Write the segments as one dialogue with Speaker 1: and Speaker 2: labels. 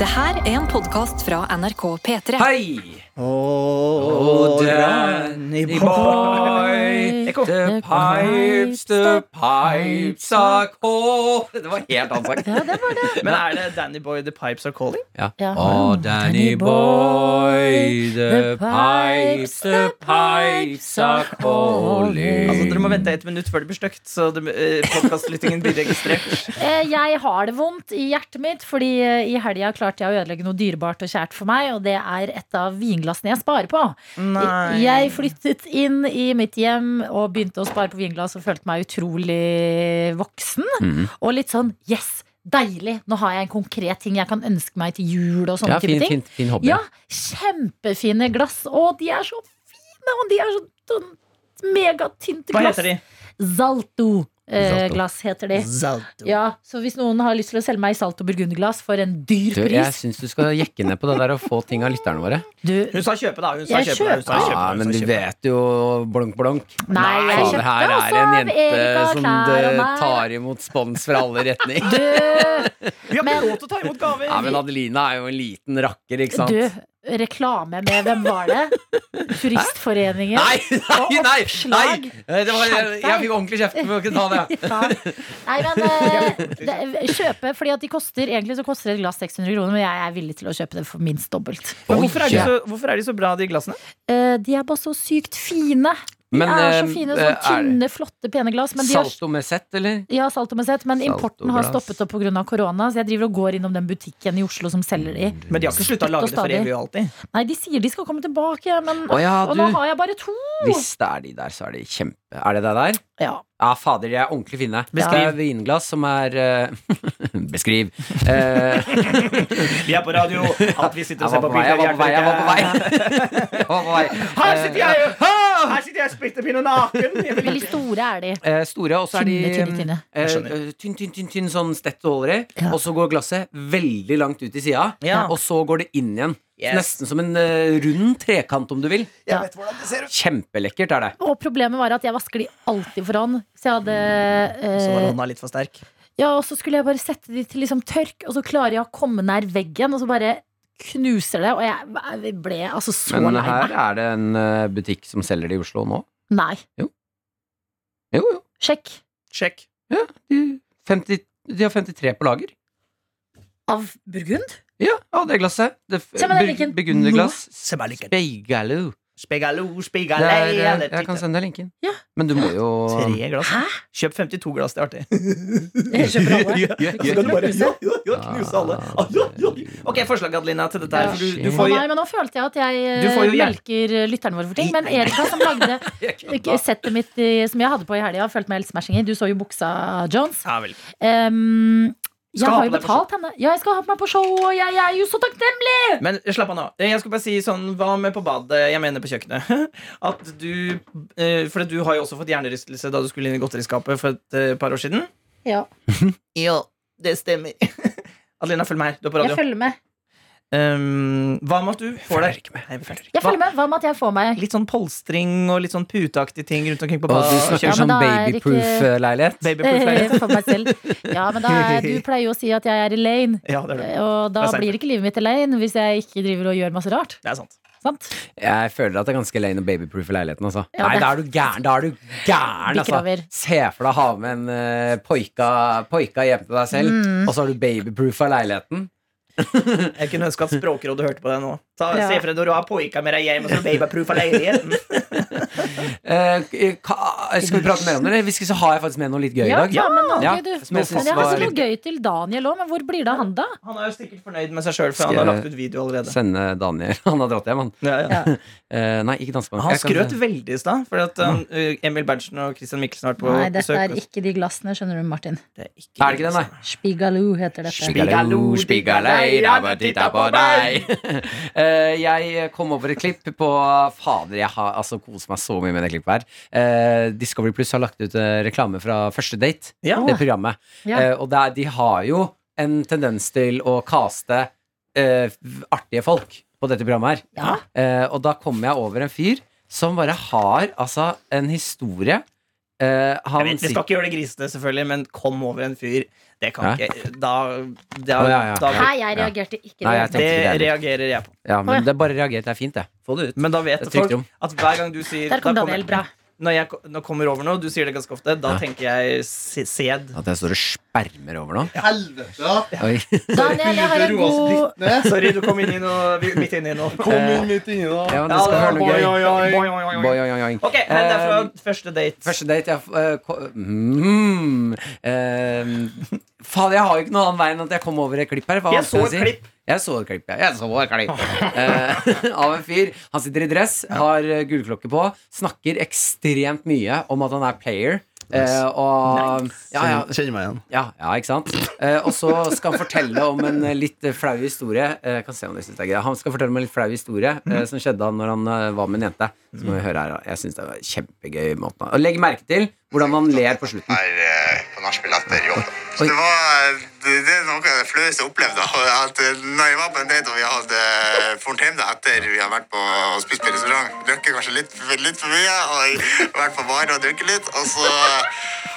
Speaker 1: Det her er en podkast fra NRK P3.
Speaker 2: Hei!
Speaker 3: Oh, Danny boy,
Speaker 2: The pipes, the pipes are call Det var helt annen sang.
Speaker 4: Ja, det var det.
Speaker 3: Men er det Danny Boy The Pipes Are Calling?
Speaker 2: Ja.
Speaker 4: Ja.
Speaker 2: Oh, Danny boy, the pipes, the pipes are calling
Speaker 3: Altså, Dere må vente et minutt før det blir stygt, så det- eh, podcastlyttingen blir registrert.
Speaker 4: Eh, Jeg har det vondt i hjertet mitt, fordi eh, i helga klarte jeg å ødelegge noe dyrebart og kjært for meg, og det er et av vinglassene jeg sparer på. Jeg flyttet inn i mitt hjem og begynte å spare på vinglass og følte meg utrolig voksen.
Speaker 2: Mhm.
Speaker 4: Og litt sånn yes, deilig! Nå har jeg en konkret ting jeg kan ønske meg til jul og
Speaker 2: ja,
Speaker 4: sånne type
Speaker 2: fin,
Speaker 4: ting.
Speaker 2: fin, fin hobby.
Speaker 4: Ja, kjempefine glass. Å, de er så fine! Og de er så sånn megatynte
Speaker 3: Hva
Speaker 4: glass.
Speaker 3: heter de?
Speaker 2: Zalto.
Speaker 4: Zalto-glass eh, heter de.
Speaker 3: Zalto.
Speaker 4: Ja, Så hvis noen har lyst til å selge meg Zalto burgunderglass for en dyr
Speaker 2: Du, jeg
Speaker 4: pris
Speaker 2: syns du skal jekke ned på det der og få ting av lytterne våre.
Speaker 4: du,
Speaker 3: Hun sa kjøpe, da. Hun sa
Speaker 4: Jeg
Speaker 3: kjøpe, da. Hun sa
Speaker 2: Ja,
Speaker 3: kjøpe, da. Hun
Speaker 2: men
Speaker 3: sa
Speaker 2: du
Speaker 3: kjøpe.
Speaker 2: vet jo blunk, blunk.
Speaker 4: Nei, jeg
Speaker 2: Faen,
Speaker 4: kjøpte
Speaker 2: det her
Speaker 4: også
Speaker 2: er en
Speaker 4: av
Speaker 2: jente
Speaker 4: Erika
Speaker 2: som
Speaker 4: klær og
Speaker 2: eh,
Speaker 4: meg.
Speaker 2: tar imot spons fra alle retning.
Speaker 4: du,
Speaker 3: Vi har ikke
Speaker 4: Men-
Speaker 3: råd til å ta imot gaver!
Speaker 2: Ja, men Adelina er jo en liten rakker, ikke sant?
Speaker 4: du, reklame med Hvem var det? Turistforeningen.
Speaker 2: Nei,
Speaker 4: Og
Speaker 2: nei, nei! nei. Eh,
Speaker 4: oppslag.
Speaker 2: Det var, jeg,
Speaker 4: Skjerp deg.
Speaker 2: jeg fikk ordentlig kjeft for å kunne ta det.
Speaker 4: Ja. Nei, men eh, det, kjøpe Fordi at de koster Egentlig så koster et glass 600 kroner, men jeg er villig til å kjøpe det for minst dobbelt.
Speaker 3: Men hvorfor, er de
Speaker 2: Oi,
Speaker 3: så, hvorfor er de så bra, de glassene?
Speaker 4: Eh, de er bare så sykt fine. De
Speaker 2: Men,
Speaker 4: er
Speaker 2: eh,
Speaker 4: så fine, sånn
Speaker 2: er-
Speaker 4: tynne, flotte, pene glass. Men de har
Speaker 2: Salto med sett, eller?
Speaker 4: Ja, salt og mesett, men
Speaker 2: Salt og
Speaker 4: importen har
Speaker 2: glass.
Speaker 4: stoppet opp pga. korona. Så jeg driver og går innom den butikken i Oslo som selger de.
Speaker 2: Mm.
Speaker 3: Men de har ikke slutta å lage det for
Speaker 4: stadig.
Speaker 3: evig og alltid.
Speaker 4: Nei, de sier de skal komme tilbake, men
Speaker 2: Å ja,
Speaker 4: Og
Speaker 2: du.
Speaker 4: nå har jeg bare to!
Speaker 2: Hvis det er de der, så er de kjempe Er det deg der?
Speaker 4: Ja.
Speaker 2: Ja, fader, de er ordentlig fine.
Speaker 4: Beskriv.
Speaker 2: Det er vinglass som er eh, Beskriv. Eh,
Speaker 3: Vi er på radio, at vi
Speaker 2: jeg
Speaker 3: sitter og ser
Speaker 2: var
Speaker 3: på
Speaker 2: på vei, jeg var på vei, jeg var på vei. Jeg var på vei.
Speaker 3: Her sitter jeg!
Speaker 2: Eh,
Speaker 3: Her sitter jeg og splitter pinne naken! Jeg vil
Speaker 4: Veldig store er de.
Speaker 2: Eh, store, og så er de
Speaker 4: Tynne, tynne, tynne.
Speaker 2: eh,
Speaker 3: Jeg skjønner.
Speaker 2: eh, tynn, tynn, tynn, tynn, sånn stett du holder i.
Speaker 4: Ja.
Speaker 2: Og så går glasset veldig langt ut i sida,
Speaker 3: Ja.
Speaker 2: og så går det inn igjen.
Speaker 3: Yes.
Speaker 2: Nesten som en eh, rund trekant, om du vil.
Speaker 4: Ja.
Speaker 2: Kjempelekkert er det.
Speaker 4: Og problemet var at jeg vasker de alltid for hånd. Så jeg hadde
Speaker 2: Mm.
Speaker 3: Så var
Speaker 4: eh,
Speaker 3: hånda litt for sterk.
Speaker 4: Ja, og så skulle jeg bare sette de til liksom tørk, og så klarer jeg å komme nær veggen, og så bare knuser det. Og jeg jeg ble altså så
Speaker 2: Men
Speaker 4: lei
Speaker 2: her
Speaker 4: meg.
Speaker 2: er det en eh, butikk som selger det i Oslo nå.
Speaker 4: Nei.
Speaker 2: Jo, jo.
Speaker 4: Sjekk.
Speaker 3: Sjekk.
Speaker 2: De, 50, de har 53 på lager.
Speaker 4: Av burgund?
Speaker 2: Ja, av det glasset. Det f-
Speaker 4: Se meg den
Speaker 2: bur-
Speaker 4: linken.
Speaker 2: Burgunderglass.
Speaker 3: Se meg linken.
Speaker 2: Speigaloo.
Speaker 3: Spegalo,
Speaker 2: Det
Speaker 3: spegale
Speaker 2: er, eh,
Speaker 3: alle
Speaker 2: Jeg kan
Speaker 3: titter.
Speaker 2: sende deg linken.
Speaker 4: Ja.
Speaker 2: Men du må jo Ah,
Speaker 3: Tre glass.
Speaker 4: Hæ?
Speaker 3: Kjøp 52 glass, det er artig.
Speaker 4: Jeg kjøper alle.
Speaker 3: Ja, ja,
Speaker 2: ja,
Speaker 3: kan du bare-
Speaker 4: knuse.
Speaker 3: ja, ja, knuse alle. Ah, ja, ja. Ok, forslag, Adelina, til dette her. For du, du
Speaker 4: Å
Speaker 3: får
Speaker 4: nei, men nå følte jeg at jeg
Speaker 3: Du
Speaker 4: eh,
Speaker 3: får jo hjelp.
Speaker 4: melker eh, lytterne våre for ting. Men Erika som lagde ikke settet mitt i, som jeg hadde på i helga, følte meg helt smashing i. Du så jo buksa, Jones.
Speaker 3: ja, vel.
Speaker 4: Ehm, jeg
Speaker 3: Skal ha
Speaker 4: har jo
Speaker 3: på deg på
Speaker 4: betalt henne. Ja, jeg skal ha på meg på show, og jeg, jeg er jo så takknemlig!
Speaker 3: Men slapp av nå. Jeg skulle bare si sånn Hva med på badet? Jeg mener på kjøkkenet. At du eh, For du har jo også fått hjernerystelse da du skulle inn i godteriskapet for et eh, par år siden.
Speaker 4: Ja,
Speaker 3: Ja, det stemmer. Adelina, følg med her. Du er på
Speaker 4: jeg
Speaker 3: radio.
Speaker 4: følger med.
Speaker 3: Um, hva med at du får deg
Speaker 2: ikke med.
Speaker 3: Nei, vi følger ikke.
Speaker 4: Jeg følger med. Hva med at jeg får meg
Speaker 3: Litt sånn polstring og litt sånn puteaktige ting rundt omkring på
Speaker 2: Og du
Speaker 3: badet.
Speaker 2: snakker
Speaker 3: Kjøp
Speaker 4: Ja, men
Speaker 2: sånn
Speaker 4: da er det ikke-
Speaker 2: babyproof-leilighet.
Speaker 3: babyproof
Speaker 4: eh,
Speaker 3: sånn leilighet.
Speaker 4: for meg selv? Ja, men da er, du pleier jo å si at jeg er Elaine.
Speaker 3: Ja, det er det.
Speaker 4: Og
Speaker 3: Det
Speaker 4: da
Speaker 3: er sant.
Speaker 4: blir ikke livet mitt Elaine hvis jeg ikke driver og gjør masse rart.
Speaker 3: Det er sant.
Speaker 4: Sant?
Speaker 2: Jeg føler at det er ganske lane og babyproof i leiligheten. Altså.
Speaker 4: Ja,
Speaker 2: Nei,
Speaker 4: det-
Speaker 2: da er du gæren! Da er du gæren
Speaker 4: Bikker
Speaker 2: altså.
Speaker 4: over.
Speaker 2: Se for deg å ha med en eh, poika, poika hjem til deg selv,
Speaker 4: Mm.
Speaker 2: og så har du babyproof av leiligheten.
Speaker 3: Jeg kunne ønske at Språkrådet hørte på det nå. Ta,
Speaker 4: Ja.
Speaker 3: Se for deg når du har poika med deg hjem, og så babyproof av leiligheten.
Speaker 2: Eh, ka, skal vi prate mer om det? eller? Hvis ikke så har jeg faktisk med noe litt gøy i
Speaker 4: Ja,
Speaker 2: dag.
Speaker 4: ja, men nå,
Speaker 2: Ja,
Speaker 4: gøy, du.
Speaker 2: som jeg synes
Speaker 4: Men jeg har
Speaker 2: var
Speaker 4: så noe
Speaker 2: litt-
Speaker 4: gøy til Daniel òg, men hvor blir det av han, da?
Speaker 3: Han er jo sikkert fornøyd med seg sjøl, for han har
Speaker 2: Skal-
Speaker 3: lagt ut video allerede.
Speaker 2: Sende Daniel. Han har dratt hjem, han.
Speaker 3: Ja, ja.
Speaker 2: Eh, nei, ikke dansebank.
Speaker 3: Han
Speaker 2: Jeg kan-
Speaker 3: skrøt veldig i stad, for at um, Emil Berntsen og Christian Mikkelsen har vært på
Speaker 4: Nei, dette
Speaker 3: besøk.
Speaker 4: er ikke de glassene, skjønner du, Martin.
Speaker 3: Det er ikke,
Speaker 2: Er det ikke den, nei?
Speaker 4: Spigaloo heter dette.
Speaker 2: Spigalo, spigalei, dabba, titta på deg. Eh, Jeg kom over et klipp på Fader, jeg har altså kost meg så mye med det klippet her. Eh, Discovery Pluss har lagt ut eh, reklame fra første date,
Speaker 3: Ja.
Speaker 2: det programmet.
Speaker 4: Ja.
Speaker 2: Eh, Og der, de har jo en tendens til å kaste eh, artige folk på dette programmet her.
Speaker 4: Ja.
Speaker 2: Eh, Og da kommer jeg over en fyr som bare har altså en historie eh,
Speaker 3: Jeg
Speaker 2: han
Speaker 3: vet, Vi skal ikke gjøre det grisete, selvfølgelig, men kom over en fyr. Det kan
Speaker 2: Hæ?
Speaker 3: ikke Da, da,
Speaker 2: Å, ja, ja.
Speaker 3: da
Speaker 4: Hei, jeg reagerte ikke.
Speaker 2: Nei, jeg tenkte ikke
Speaker 4: det.
Speaker 3: Det
Speaker 2: det heller.
Speaker 3: reagerer jeg på.
Speaker 2: Ja,
Speaker 4: Å, ja.
Speaker 2: men det er bare reagert. Det er fint, det. Få det ut.
Speaker 3: Men da vet
Speaker 2: Det er trygt
Speaker 3: folk
Speaker 2: rom.
Speaker 3: at hver gang du sier
Speaker 4: Der kom
Speaker 3: da
Speaker 4: Daniel. Bra.
Speaker 3: Når jeg ko- nå kommer over noe, du sier det ganske ofte, da
Speaker 2: Ja.
Speaker 3: tenker jeg se- sæd.
Speaker 2: At jeg står og spermer over nå.
Speaker 5: Helvete! da. altså
Speaker 2: Oi.
Speaker 4: Daniel, jeg har en
Speaker 5: Roas
Speaker 4: god
Speaker 5: drittne.
Speaker 3: Sorry, du kom inn i noe, vi- midt inn i noe.
Speaker 5: Kom inn midt inni, da.
Speaker 2: Ja, men det skal
Speaker 3: Ja,
Speaker 2: være noe
Speaker 5: Oi,
Speaker 2: gøy.
Speaker 5: oi,
Speaker 3: Boing,
Speaker 5: oi.
Speaker 3: boing, boing,
Speaker 2: Boing,
Speaker 3: boing.
Speaker 2: boing, boing.
Speaker 3: Ok, her det er fra
Speaker 2: Eh,
Speaker 3: første date.
Speaker 2: Første date jeg, eh, ko- mm, eh, Faen, jeg har jo ikke noen annen vei enn at jeg kom over et klipp her. Hva
Speaker 3: Jeg
Speaker 2: skal
Speaker 3: så et
Speaker 2: si?
Speaker 3: klipp.
Speaker 2: Jeg så et klipp, ja. Jeg så et klipp. Eh, av en fyr. Han sitter i dress, har eh, gullklokke på, snakker ekstremt mye om at han er player. eh, og ja, ja,
Speaker 5: Kjenner- Kjenner meg igjen.
Speaker 2: ja, ja, ikke sant? Eh, og så skal han fortelle om en eh, litt eh, flau historie. Eh, jeg kan se om dere synes det er gøy Han skal fortelle om en litt flau historie
Speaker 3: Mhm.
Speaker 2: eh, som skjedde han når han eh, var med en jente. Så må vi høre her da. Jeg synes det var kjempegøy måten. han- Og legg merke til hvordan han ler på slutten.
Speaker 6: her eh, på nachspiel etter jobb.
Speaker 2: Oi.
Speaker 6: Så det var det, det er noe av det flaueste jeg opplevde. At eh, når jeg var på en date og vi hadde dratt hjem da, etter vi hadde vært på og spist på restaurant, drukket kanskje litt, for- litt for mye og jeg- vært på bar og drukket litt, og så,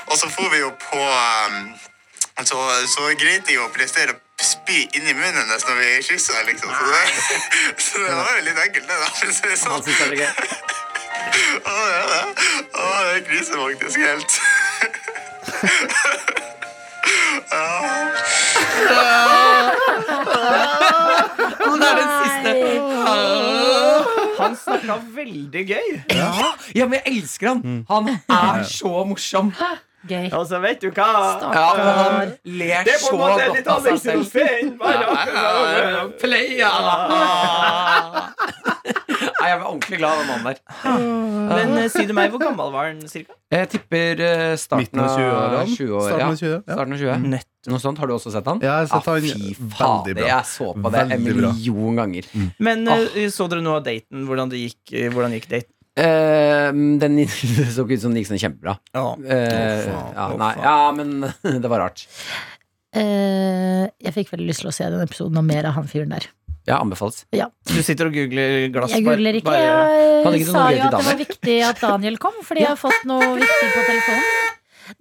Speaker 6: og så for vi jo på eh, så, så greide jeg å prestere å spy inn i munnen hennes når vi kyssa, liksom. Så det, så det var jo litt enkelt, det, da. for å si det sånn.
Speaker 2: Han synes det er gøy.
Speaker 6: Å, det er det. Å, det griser faktisk helt.
Speaker 2: Han er den siste.
Speaker 3: Han snakka veldig gøy.
Speaker 2: Ja, men jeg elsker
Speaker 3: Mm.
Speaker 2: han. Han er så morsom.
Speaker 4: gøy.
Speaker 3: Og så vet du hva
Speaker 2: Ja, men han ler
Speaker 3: Det er på
Speaker 2: så
Speaker 3: en måte litt
Speaker 2: godt av seg selv.
Speaker 3: annerledes
Speaker 2: Ja,
Speaker 3: enn Ah.
Speaker 2: Nei, jeg ble ordentlig glad av den mannen der.
Speaker 3: Men eh, si du meg, hvor gammel var han cirka?
Speaker 2: Jeg tipper eh, starten
Speaker 5: Midten av
Speaker 2: av
Speaker 5: 20-årene.
Speaker 2: 20 år,
Speaker 5: Starten av
Speaker 2: ja.
Speaker 5: 20, ja.
Speaker 2: Starten av 20. Noe sånt. Har du også sett han?
Speaker 5: Jeg har sett
Speaker 2: Ah,
Speaker 5: han
Speaker 2: Fy
Speaker 5: veldig
Speaker 2: fader,
Speaker 5: bra.
Speaker 2: jeg så på det en
Speaker 5: Veldig bra. Mm.
Speaker 2: million ganger.
Speaker 3: Men
Speaker 2: Ah.
Speaker 3: eh, så dere noe av daten? Hvordan det gikk, eh, hvordan gikk daten?
Speaker 2: Eh, den så ikke ut som den gikk sånn kjempebra. Eh,
Speaker 5: faen,
Speaker 2: ja,
Speaker 5: å,
Speaker 2: nei,
Speaker 5: faen.
Speaker 2: ja, men det var rart.
Speaker 4: Eh, jeg fikk veldig lyst til å se den episoden og mer av han fyren der.
Speaker 2: Ja, anbefales.
Speaker 3: Du sitter og googler glass
Speaker 4: Jeg
Speaker 3: bare-
Speaker 4: googler ikke.
Speaker 3: Altså, bare-
Speaker 2: Hadde
Speaker 4: Jeg
Speaker 2: ikke du
Speaker 4: sa
Speaker 2: noe gøy
Speaker 4: jo
Speaker 2: til
Speaker 4: at det var
Speaker 2: Daniel?
Speaker 4: viktig at Daniel kom, fordi jeg har fått noe viktig på telefonen.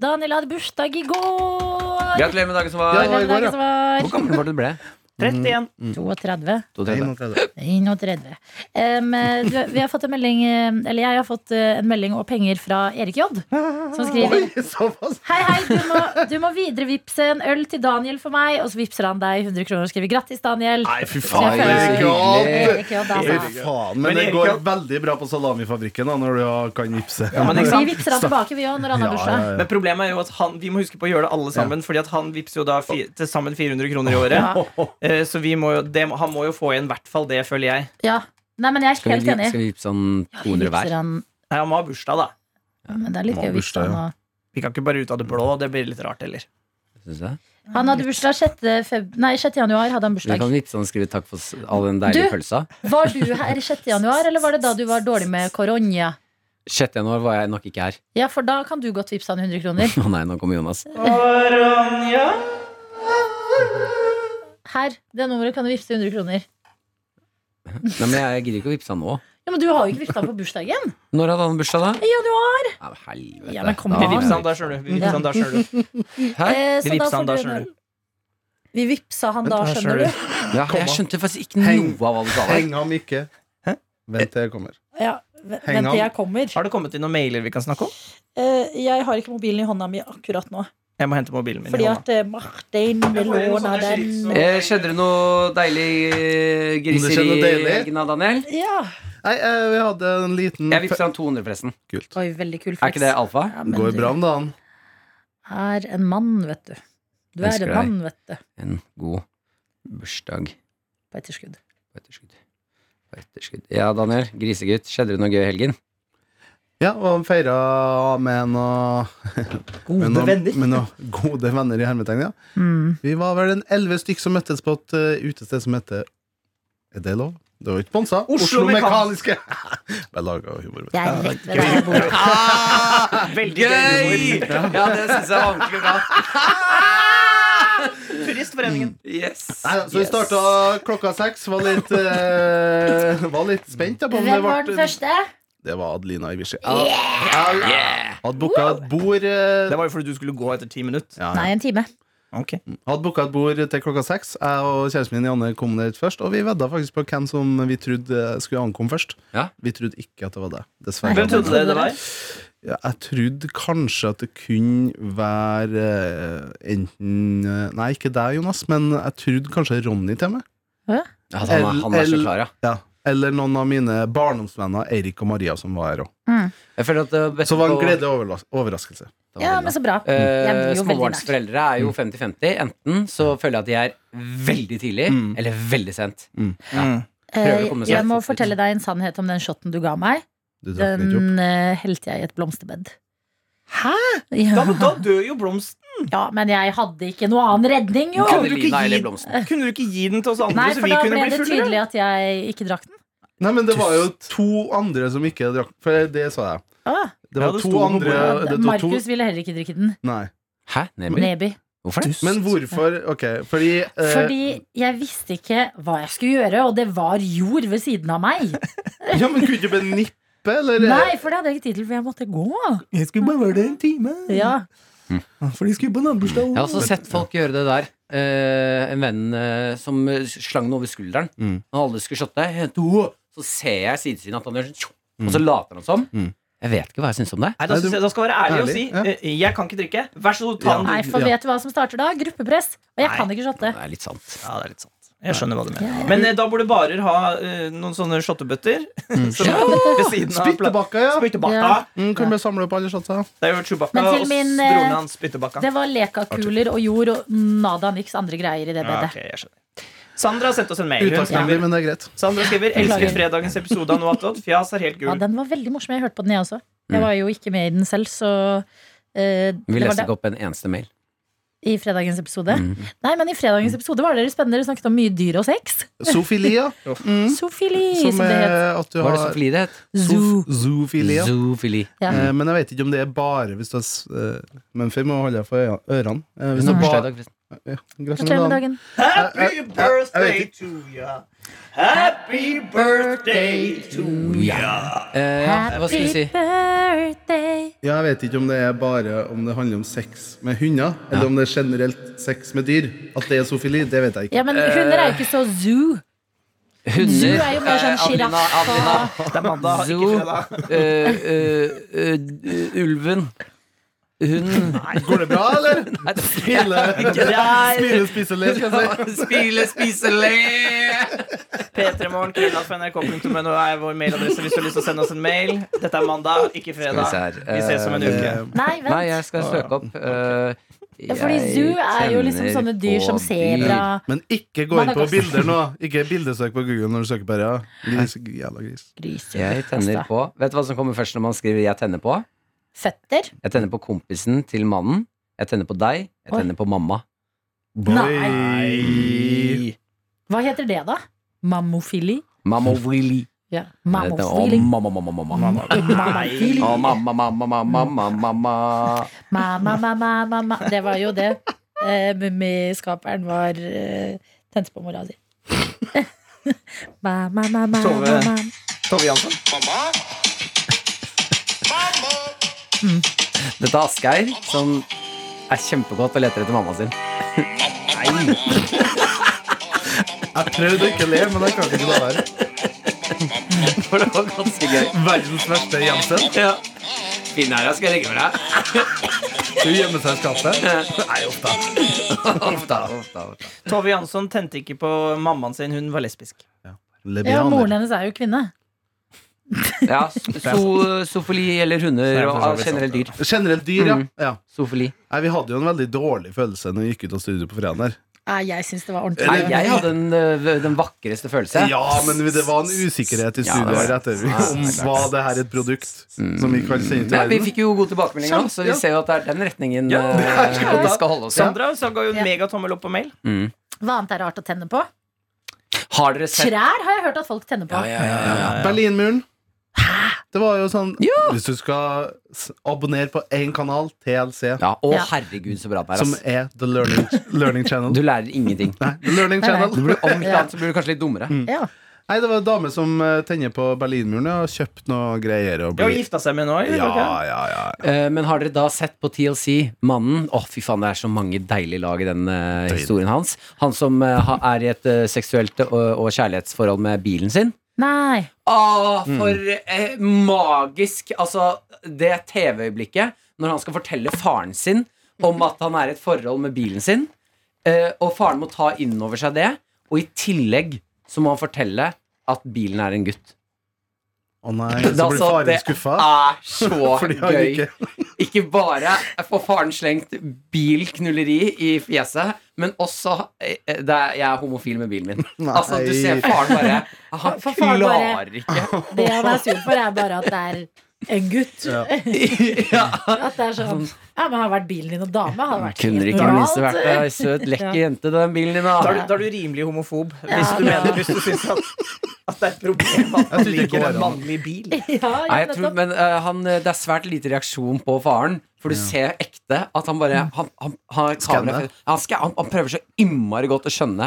Speaker 4: Daniel hadde bursdag i går.
Speaker 2: Gratulerer med dagen som
Speaker 5: Ja,
Speaker 2: var.
Speaker 5: det var i går,
Speaker 4: Dagen som var
Speaker 2: Hvor gammel var du ble? Mm.
Speaker 3: 31.
Speaker 4: 32.
Speaker 2: 32.
Speaker 5: 31.
Speaker 4: 31. Em, eh, du, vi har fått en melding eh, Eller jeg har fått eh, en melding og penger fra Erik J. Som skriver
Speaker 5: Oi, såpass!
Speaker 4: Hei, hei, du må, du må viderevipse en øl til Daniel for meg. Og så vipser han deg 100 kroner og skriver 'grattis, Daniel'.
Speaker 5: Nei, fy
Speaker 4: Så jeg
Speaker 2: Oi,
Speaker 4: føler-
Speaker 2: så hyggelig.
Speaker 5: faen!
Speaker 4: Erik J,
Speaker 5: Fy
Speaker 4: altså.
Speaker 5: faen,
Speaker 3: Men
Speaker 5: men det
Speaker 3: Erik,
Speaker 5: går
Speaker 3: ja.
Speaker 5: veldig bra på salamifabrikken da, når du har- kan gipse.
Speaker 3: Ja, men ikke sant?
Speaker 4: Vi vipser han tilbake, vi òg, når han har bursdag.
Speaker 3: Men problemet er jo at han, vi må huske på å gjøre det alle sammen, Fordi at han vipser jo da fi, til sammen 400 kroner i året. Eh, Så vi må jo, det, må- han må jo få igjen i hvert fall det, føler jeg.
Speaker 4: Ja. Nei, men jeg er
Speaker 2: Skal vi,
Speaker 4: helt enig.
Speaker 2: skal vi vippse sånn 200
Speaker 4: Vipser
Speaker 2: hver?
Speaker 4: han-
Speaker 3: Nei, han må ha bursdag, da.
Speaker 4: Ja, Men det er litt gøy
Speaker 5: Må ha
Speaker 4: å vipse
Speaker 5: bursdag,
Speaker 4: han
Speaker 5: ja.
Speaker 4: også.
Speaker 3: Vi kan ikke bare ut av det blå. Det blir litt rart heller.
Speaker 2: Synes du det?
Speaker 4: Han hadde bursdag 6. Feb... Nei, 6. januar hadde han
Speaker 2: Vi
Speaker 4: bursdag.
Speaker 2: kan vippse han og skrive takk for s- all den deilige
Speaker 4: Du?
Speaker 2: pølsa.
Speaker 4: Var du her 6. januar, eller var det da du var dårlig med korona?
Speaker 2: 6. januar var jeg nok ikke her.
Speaker 4: Ja, for da kan du godt vippse han 100 kroner.
Speaker 2: Å nei, nå kommer Jonas.
Speaker 4: Her, det nummeret kan du vippse 100 kroner.
Speaker 2: Nei, men jeg gidder ikke å vippse han nå.
Speaker 4: Ja, Men du har jo ikke vippsa han på bursdagen.
Speaker 2: Når hadde han bursdag, da?
Speaker 4: I januar.
Speaker 2: Ja, men helvete.
Speaker 4: Ja, men kom
Speaker 2: Da-
Speaker 3: Vi
Speaker 4: an.
Speaker 3: vipser han der, skjønner du. Vi vipser han der, skjønner du.
Speaker 2: Hæ?
Speaker 4: Eh,
Speaker 3: Vi
Speaker 4: så da
Speaker 3: vippsa
Speaker 4: får
Speaker 3: han da,
Speaker 4: du en
Speaker 3: skjønner
Speaker 4: øl. Vi vippsa han da,
Speaker 3: her
Speaker 4: skjønner
Speaker 3: skjønner
Speaker 4: du.
Speaker 2: Ja, jeg skjønte faktisk ikke
Speaker 5: Heng.
Speaker 2: noe av hva du sa der.
Speaker 5: Heng ham ikke. Vent til jeg kommer.
Speaker 4: Ja, v-
Speaker 5: Heng
Speaker 4: Vent
Speaker 5: on.
Speaker 4: til jeg kommer.
Speaker 3: Har det kommet inn noen mailer vi kan snakke om?
Speaker 4: Eh, jeg har ikke mobilen i hånda mi akkurat nå.
Speaker 3: Jeg må hente mobilen min. i
Speaker 4: Fordi
Speaker 3: hånda.
Speaker 4: at eh, Martin
Speaker 3: får
Speaker 4: vil
Speaker 3: sånn jo
Speaker 4: låne
Speaker 3: sånne slips
Speaker 4: den.
Speaker 3: og-
Speaker 2: Eh, Skjedde det noe deilig eh,
Speaker 5: Om det skjedde
Speaker 2: griseri
Speaker 5: noe
Speaker 2: i
Speaker 5: deilig?
Speaker 2: helgen da, Daniel?
Speaker 4: Ja.
Speaker 5: Nei, eh, vi hadde en liten
Speaker 2: Jeg vippsa han 200, forresten.
Speaker 5: Kult.
Speaker 4: Oi, veldig kul
Speaker 2: Er ikke det alfa?
Speaker 4: Ja, men
Speaker 5: Går
Speaker 4: du
Speaker 5: bra om dagen.
Speaker 4: er en mann, vet du. Du er
Speaker 2: Elsker
Speaker 4: en
Speaker 2: deg.
Speaker 4: mann, vet du.
Speaker 2: En god bursdag
Speaker 4: På etterskudd.
Speaker 2: på etterskudd. På etterskudd. Ja, Daniel. Grisegutt. Skjedde det noe gøy i helgen?
Speaker 5: Ja, og feira med noen
Speaker 3: Gode
Speaker 5: med noen-
Speaker 3: venner.
Speaker 5: Med noen gode venner i hermetegn, ja. Vi var vel en elleve stykk som møttes på et eh, utested som heter Er det lov? Det var jo ikke sponsa.
Speaker 3: Oslo
Speaker 5: Mekaniske. Jeg laga humor. vet du.
Speaker 4: Det er rett ved der jeg bor.
Speaker 3: Veldig
Speaker 2: Gøy!
Speaker 3: humor.
Speaker 2: Ja, det syns jeg var ordentlig bra.
Speaker 3: Turistforeningen.
Speaker 2: Yes.
Speaker 5: Nei, da, så vi starta klokka seks. Var litt, eh, var litt spent da, på om det
Speaker 4: Hvem var
Speaker 5: ble
Speaker 4: den første?
Speaker 5: Det var Adelina Iversen.
Speaker 2: Yeah!
Speaker 5: Hadde booka et bord eh,
Speaker 3: Det var jo fordi du skulle gå etter ti minutter.
Speaker 5: ja,
Speaker 4: Nei, en time.
Speaker 3: Ok
Speaker 5: Hadde booka et bord til klokka seks. Jeg og kjæresten min Janne kom ned først, og vi vedda faktisk på hvem som vi trodde eh, skulle ankomme først.
Speaker 2: Ja.
Speaker 5: Vi trodde ikke at det var det. Dessverre.
Speaker 3: Hvem trodde det det var?
Speaker 5: Ja, jeg trodde kanskje at det kunne være eh, enten eh, Nei, ikke deg, Jonas, men jeg trodde kanskje Ronny til meg.
Speaker 2: Ja, han, er- han er så
Speaker 5: L-
Speaker 2: klar, ja.
Speaker 5: Ja. Eller noen av mine barndomsvenner, Eirik og Maria, som var her òg.
Speaker 2: Jeg føler at det beste
Speaker 5: Så det var Mm. en
Speaker 2: på-
Speaker 5: gledelig overras- overraskelse. Det var
Speaker 4: Ja,
Speaker 5: veldig
Speaker 4: men så bra. Jeg bor
Speaker 2: Eh,
Speaker 4: jo veldig nært.
Speaker 2: Småbarnsforeldre er
Speaker 5: Mm.
Speaker 2: jo 50-50. Enten så føler jeg at de er veldig tidlig,
Speaker 5: Mm.
Speaker 2: eller veldig sent.
Speaker 3: Mm.
Speaker 2: prøver å komme
Speaker 4: Eh,
Speaker 2: seg
Speaker 4: Jeg
Speaker 2: fort
Speaker 4: må
Speaker 2: ut.
Speaker 4: fortelle deg en sannhet om den shotten du ga meg.
Speaker 5: bra. Du drakk litt opp.
Speaker 4: Den eh, helte jeg i et blomsterbed.
Speaker 3: Hæ? Da,
Speaker 4: Ja.
Speaker 3: men da dør jo blomsten.
Speaker 4: ja, men jeg hadde ikke noe annen redning, jo!
Speaker 3: Kunne du ikke
Speaker 2: Adelina
Speaker 3: gi-
Speaker 2: eller Blomsten.
Speaker 3: Kunne du ikke gi den til oss andre,
Speaker 4: Nei,
Speaker 3: så
Speaker 4: for
Speaker 3: vi
Speaker 4: da
Speaker 3: kunne
Speaker 4: ble
Speaker 3: bli
Speaker 4: det
Speaker 3: fulle?
Speaker 4: tydelig at jeg ikke drakk den.
Speaker 5: Nei, men det var jo to andre som ikke drakk For det sa jeg.
Speaker 4: Ah,
Speaker 5: Det
Speaker 3: Ja,
Speaker 5: var
Speaker 3: det sto
Speaker 5: to
Speaker 3: noe
Speaker 5: andre
Speaker 3: på
Speaker 5: det var to,
Speaker 4: Markus ville heller ikke drikke den.
Speaker 5: Nei.
Speaker 2: Hæ? Neby?
Speaker 3: eh,
Speaker 4: Neby.
Speaker 2: Hvorfor det?
Speaker 5: Men hvorfor? Ok, fordi eh,
Speaker 4: Fordi jeg visste ikke hva jeg skulle gjøre, og det var jord ved siden av meg.
Speaker 5: Ja, men kunne du ikke bare nippe, eller?
Speaker 4: Nei, for det hadde jeg ikke tid til, for jeg måtte gå.
Speaker 3: Jeg skulle bare være der en time.
Speaker 4: Ja.
Speaker 3: For de skulle på nabobursdag.
Speaker 2: Jeg har også sett folk gjøre det der. Eh, en venn eh, som slang den over skulderen.
Speaker 5: Mm.
Speaker 2: Når alle skulle shotte, jeg hente ho, så ser jeg sidesynet at han gjør sånn, tjo, og så later han som.
Speaker 5: Mm.
Speaker 2: Jeg vet ikke hva jeg syns om det.
Speaker 3: Nei, da, synes jeg, da skal jeg være ærlig, og si
Speaker 5: Ærlig,
Speaker 3: eh, jeg kan ikke drikke. Vær så god, ta den.
Speaker 4: Nei, for
Speaker 5: Ja.
Speaker 4: vet du hva som starter da? Gruppepress. Og jeg
Speaker 3: Nei.
Speaker 4: kan ikke shotte.
Speaker 2: Det er litt sant.
Speaker 3: Ja, det er litt sant. Jeg skjønner hva du mener. Men eh, da burde barer ha eh, noen sånne shottebøtter. Som er ved siden av pla-
Speaker 5: Mm. Spyttebakka, ja.
Speaker 3: Spyttebakka.
Speaker 4: Ja.
Speaker 5: Mm, kan vi samle opp alle shotsa?
Speaker 3: Det er jo Chewbacca
Speaker 4: Men til
Speaker 3: og
Speaker 4: min, eh,
Speaker 3: dronen hans Spyttebakka.
Speaker 4: Det var lekakuler og jord og nada niks andre greier i det
Speaker 3: Ja,
Speaker 4: bedet.
Speaker 3: ok, jeg skjønner. Sandra har sendt oss en mail. Hun
Speaker 5: Utakknemlig,
Speaker 3: skriver,
Speaker 5: men det er greit.
Speaker 3: Sandra skriver 'Elsker fredagens episode av Noe attåt. Fjas er helt
Speaker 4: Ja,
Speaker 3: gul'.
Speaker 4: den var veldig morsom. Jeg hørte på den, jeg også. Jeg var jo ikke med i den selv, så
Speaker 2: Vi
Speaker 4: eh, det var
Speaker 2: leste
Speaker 4: det.
Speaker 2: ikke opp en eneste mail.
Speaker 4: I fredagens episode.
Speaker 3: Mm.
Speaker 4: Nei, men i fredagens episode var dere spennende. Dere snakket om mye dyr og sex.
Speaker 5: Sofilia,
Speaker 3: Mm.
Speaker 4: Sofili, som,
Speaker 5: mm, som
Speaker 4: det het.
Speaker 3: eh,
Speaker 5: er at du
Speaker 2: Hva er det
Speaker 5: har
Speaker 2: sofili det het?
Speaker 5: Sof- Zoofilia.
Speaker 2: Zoofili.
Speaker 4: Ja.
Speaker 5: Eh, men jeg vet ikke om det er bare hvis du har s- eh, Men før må jeg holde deg for øya- ørene. Eh, hvis
Speaker 2: Hun
Speaker 5: det
Speaker 2: har bursdag i
Speaker 5: bare
Speaker 2: dag, forresten.
Speaker 5: ja,
Speaker 4: Gratulerer
Speaker 5: Gratulerer
Speaker 4: med
Speaker 5: med dagen.
Speaker 4: dagen.
Speaker 5: Jeg- jeg- jeg- jeg vet ikke.
Speaker 3: to ya. Happy birthday to
Speaker 2: Eh, ja, hva skulle vi si?
Speaker 4: birthday.
Speaker 5: Ja, Jeg vet ikke om det er bare om det handler om sex med hunder, eller om det er generelt sex med dyr. At det er zoofili, det vet jeg ikke.
Speaker 4: Ja,
Speaker 2: Eh,
Speaker 4: men hunder er jo ikke så zoo. Zoo
Speaker 2: Hunder
Speaker 4: er jo mer sånn
Speaker 2: eh, Adelina,
Speaker 4: sjiraff og-
Speaker 2: Adelina.
Speaker 3: Det er mandag,
Speaker 2: Zoo.
Speaker 3: ikke fredag.
Speaker 2: Eh, eh, eh, ulven. Hun
Speaker 5: Går det bra, eller? Smile, spise, le, skal jeg si.
Speaker 2: Spile, spise, le!
Speaker 3: P3morgen, krøllalfa.nrk.no er vår mailadresse hvis du har lyst til å sende oss en mail. Dette er mandag, ikke fredag.
Speaker 2: Skal vi se her.
Speaker 3: Vi ses om en uke.
Speaker 5: Eh,
Speaker 4: Nei, vent. Ah,
Speaker 2: Nei, jeg skal søke opp. eh,
Speaker 4: Ja, fordi
Speaker 2: jeg
Speaker 4: zoo er jo liksom
Speaker 2: kjenner
Speaker 4: sånne dyr
Speaker 2: på
Speaker 4: som sebra.
Speaker 5: Men ikke gå inn på
Speaker 4: Madagaskar.
Speaker 5: bilder nå. Ikke bildesøk på Google når du søker på det. Ja. Gris, jævla gris.
Speaker 4: Gris.
Speaker 2: Jeg tenner på Vet du hva som kommer først når man skriver 'jeg tenner på'?
Speaker 4: Føtter?
Speaker 2: Jeg tenner på kompisen til mannen. Jeg tenner på deg. Jeg
Speaker 4: Oi.
Speaker 2: tenner på mamma.
Speaker 5: Boy.
Speaker 4: Hva heter det, da? Mammofili?
Speaker 2: Mamma really.
Speaker 4: Ja.
Speaker 2: Nei, det er- å,
Speaker 4: Mammofili. Eh,
Speaker 2: Mamma, mamma, mamma, mamma.
Speaker 4: Mammofili.
Speaker 2: Å, mamma, mamma, mamma, mamma, mamma.
Speaker 4: Ma, ma, ma, ma, ma, ma. Det var jo det. Eh, Mummiskaperen var eh, tente på mora si. ma, ma, ma, ma,
Speaker 3: Tove.
Speaker 4: ma, ma.
Speaker 3: Tove Jansson.
Speaker 6: Mamma? Mamma!
Speaker 2: Dette er Asgeir, som er kjempegodt og leter etter mammaen sin.
Speaker 5: Jeg prøvde å ikke le, men jeg klarte ikke det der.
Speaker 2: For det var ganske gøy.
Speaker 5: Verdens verste Jensen.
Speaker 2: Ja. Finn her, jeg skal legge meg deg.
Speaker 5: Hun gjemmer seg i skapet. Nei, uff da.
Speaker 2: Uff da, uff da, uff da.
Speaker 3: Tove Jansson tente ikke på mammaen sin, hun var lesbisk.
Speaker 4: Ja,
Speaker 5: Lebianer.
Speaker 4: moren hennes er jo kvinne.
Speaker 2: Ja, so, sofili eller hunder og av
Speaker 5: sånn.
Speaker 2: generelt dyr.
Speaker 5: Generelt dyr,
Speaker 2: Mm.
Speaker 5: ja. ja.
Speaker 2: Sofili.
Speaker 5: Nei, vi hadde jo en veldig dårlig følelse når vi gikk ut av studio på fredag. der.
Speaker 4: Nei, jeg syns det var
Speaker 2: Nei,
Speaker 4: ordentlig.
Speaker 2: jeg hadde den, ø, den vakreste følelse.
Speaker 5: Ja, men det var en usikkerhet
Speaker 2: Ja,
Speaker 5: i
Speaker 2: det
Speaker 5: studio
Speaker 2: var
Speaker 5: her etter om var det her et produkt som vi kan
Speaker 2: Nei,
Speaker 5: sende
Speaker 2: vi
Speaker 5: til verden.
Speaker 2: fikk jo god tilbakemelding nå, så vi
Speaker 5: Ja.
Speaker 2: ser jo at det er den retningen
Speaker 3: Ja,
Speaker 2: ø,
Speaker 3: det er
Speaker 2: vi skal holde oss i.
Speaker 3: Sandra så ga jo en
Speaker 4: Ja.
Speaker 3: megatommel opp på mail.
Speaker 4: Hva annet er rart å tenne på?
Speaker 2: Har dere sett
Speaker 4: Trær har jeg hørt at folk tenner på.
Speaker 2: ja, ja, ja, ja.
Speaker 5: Berlinmuren. Det var jo sånn Hvis du skal s- abonnere på én kanal, TLC,
Speaker 2: ja, Å,
Speaker 4: Ja.
Speaker 2: herregud, så bra det er.
Speaker 5: som
Speaker 2: ass.
Speaker 5: er The Learning, learning Channel
Speaker 2: Du lærer ingenting.
Speaker 5: Nei, Mm. The Learning
Speaker 4: Nei, nei.
Speaker 5: Channel.
Speaker 2: Om ikke annet så blir du kanskje litt dummere.
Speaker 4: Ja.
Speaker 5: Nei, det var en dame som eh, tenner på Berlinmuren ja, og kjøpt noe greier. Og
Speaker 3: Ja, og
Speaker 5: blir-
Speaker 3: gifta seg med nå, eller?
Speaker 5: ja,
Speaker 2: liksom.
Speaker 3: Ok.
Speaker 5: ja, ja.
Speaker 2: Eh, Men har dere da sett på TLC Mannen? Å, fy faen, det er så mange deilige lag i den eh, historien hans. Han som eh, ha- er i et eh, seksuelt og, og kjærlighetsforhold med bilen sin.
Speaker 4: Nei.
Speaker 2: Å,
Speaker 5: Mm.
Speaker 2: for eh, magisk Altså, det TV-øyeblikket når han skal fortelle faren sin om at han er i et forhold med bilen sin, eh, og faren må ta inn over seg det, og i tillegg så må han fortelle at bilen er en gutt.
Speaker 5: Å nei, så blir
Speaker 2: Altså, det
Speaker 5: faren skuffa.
Speaker 2: er så
Speaker 5: Fordi han
Speaker 2: gøy.
Speaker 5: ikke
Speaker 2: Ikke bare får faren slengt bilknulleri i fjeset, men også eh, det er, Jeg er homofil med bilen min.
Speaker 5: Nei.
Speaker 2: Altså, du ser faren bare Han
Speaker 4: For faren bare-
Speaker 2: klarer ikke
Speaker 4: Det han er sur for, er bare at det er en gutt.
Speaker 5: Ja.
Speaker 2: ja.
Speaker 4: At det er sånn Ja, men har vært bilen din og dame? Hadde vært
Speaker 2: Kunne
Speaker 4: helt
Speaker 2: ikke
Speaker 4: normalt.
Speaker 2: minst vært ei eh, søt, lekker jente, den bilen din,
Speaker 3: Da er,
Speaker 2: da.
Speaker 3: du, da er du rimelig homofob, hvis
Speaker 4: Ja,
Speaker 3: du
Speaker 4: ja.
Speaker 3: mener Hvis du syns at, at det er et problem at man
Speaker 5: tror ikke
Speaker 3: liker
Speaker 5: det
Speaker 3: en
Speaker 5: går an.
Speaker 3: mannlig bil.
Speaker 4: Ja,
Speaker 2: Nei,
Speaker 4: ja,
Speaker 2: jeg tror,
Speaker 4: nettopp.
Speaker 2: men eh, han, eh, det er svært lite reaksjon på faren. For du ser ekte at han bare Han, han, han, kamera,
Speaker 5: Skanner.
Speaker 2: han, skal, han, han prøver så innmari godt å skjønne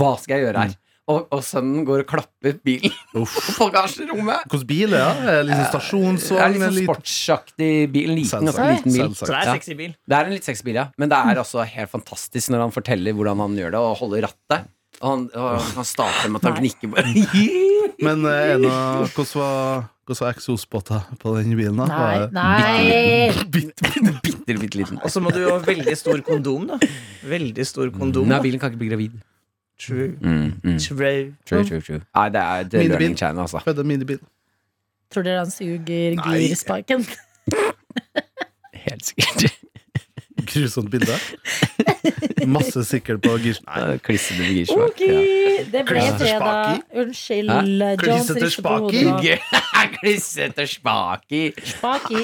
Speaker 2: hva skal jeg gjøre her. Og, og sønnen går og klapper bilen
Speaker 5: Uff.
Speaker 2: på bagasjerommet.
Speaker 5: Hvordan bil er det? Er det
Speaker 2: Eh,
Speaker 5: Liksom
Speaker 2: Det
Speaker 5: stasjonsvogn?
Speaker 2: er litt sånn
Speaker 5: litt-
Speaker 2: sportsaktig bil. En liten, ganske
Speaker 5: Selvsagt.
Speaker 2: liten bil.
Speaker 5: Selvsagt.
Speaker 3: Så det er
Speaker 2: Ja.
Speaker 3: en sexy bil.
Speaker 2: Det er en litt sexy bil, ja. Men det
Speaker 4: Mm.
Speaker 2: er altså helt fantastisk når han forteller hvordan han gjør det, og holder rattet. Og han, og han starter med at han
Speaker 4: Nei.
Speaker 2: gnikker bare.
Speaker 5: Men eh, er det noe- hvordan var, hvordan var eksosbåta på den bilen? da?
Speaker 4: Nei,
Speaker 5: Var det-
Speaker 4: nei.
Speaker 2: Bitte, bitte, bitte, bitte liten.
Speaker 3: Og så må du jo ha veldig stor kondom, da. Veldig stor kondom.
Speaker 2: Nei,
Speaker 3: Da.
Speaker 2: bilen kan ikke bli gravid.
Speaker 3: True.
Speaker 2: Mm, mm.
Speaker 3: True.
Speaker 2: True, true, true. Nei, det er det er
Speaker 5: Minibil.
Speaker 2: learning channel, altså.
Speaker 5: Var det minibil?
Speaker 4: Tror dere han suger
Speaker 5: Nei.
Speaker 4: girspaken?
Speaker 2: Helt sikkert.
Speaker 5: Grusomt bilde. Masse sikkel på girs... Nei.
Speaker 2: Klissete girslag.
Speaker 4: Ok, det ble
Speaker 5: Klissete
Speaker 4: fredag.
Speaker 5: spaki?
Speaker 4: Unnskyld,
Speaker 2: Hæ?
Speaker 4: Jones
Speaker 5: Klissete
Speaker 4: rister på
Speaker 5: spaki?
Speaker 4: hodet. nå.
Speaker 2: Klissete spaki.
Speaker 4: Spaki.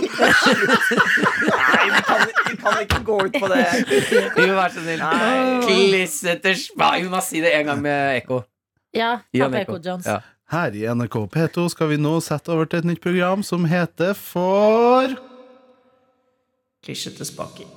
Speaker 3: Nei, vi kan, vi kan ikke gå ut på det.
Speaker 2: Vi må være så snill.
Speaker 3: Nei.
Speaker 2: Klissete spaki. Vi må si det en gang med ekko.
Speaker 4: Ja,
Speaker 2: Gi
Speaker 4: ta
Speaker 2: han ekko.
Speaker 4: PK Jones.
Speaker 2: Ja.
Speaker 5: Her i NRK P2 skal vi nå sette over til et nytt program som heter For
Speaker 3: Klissete spaker.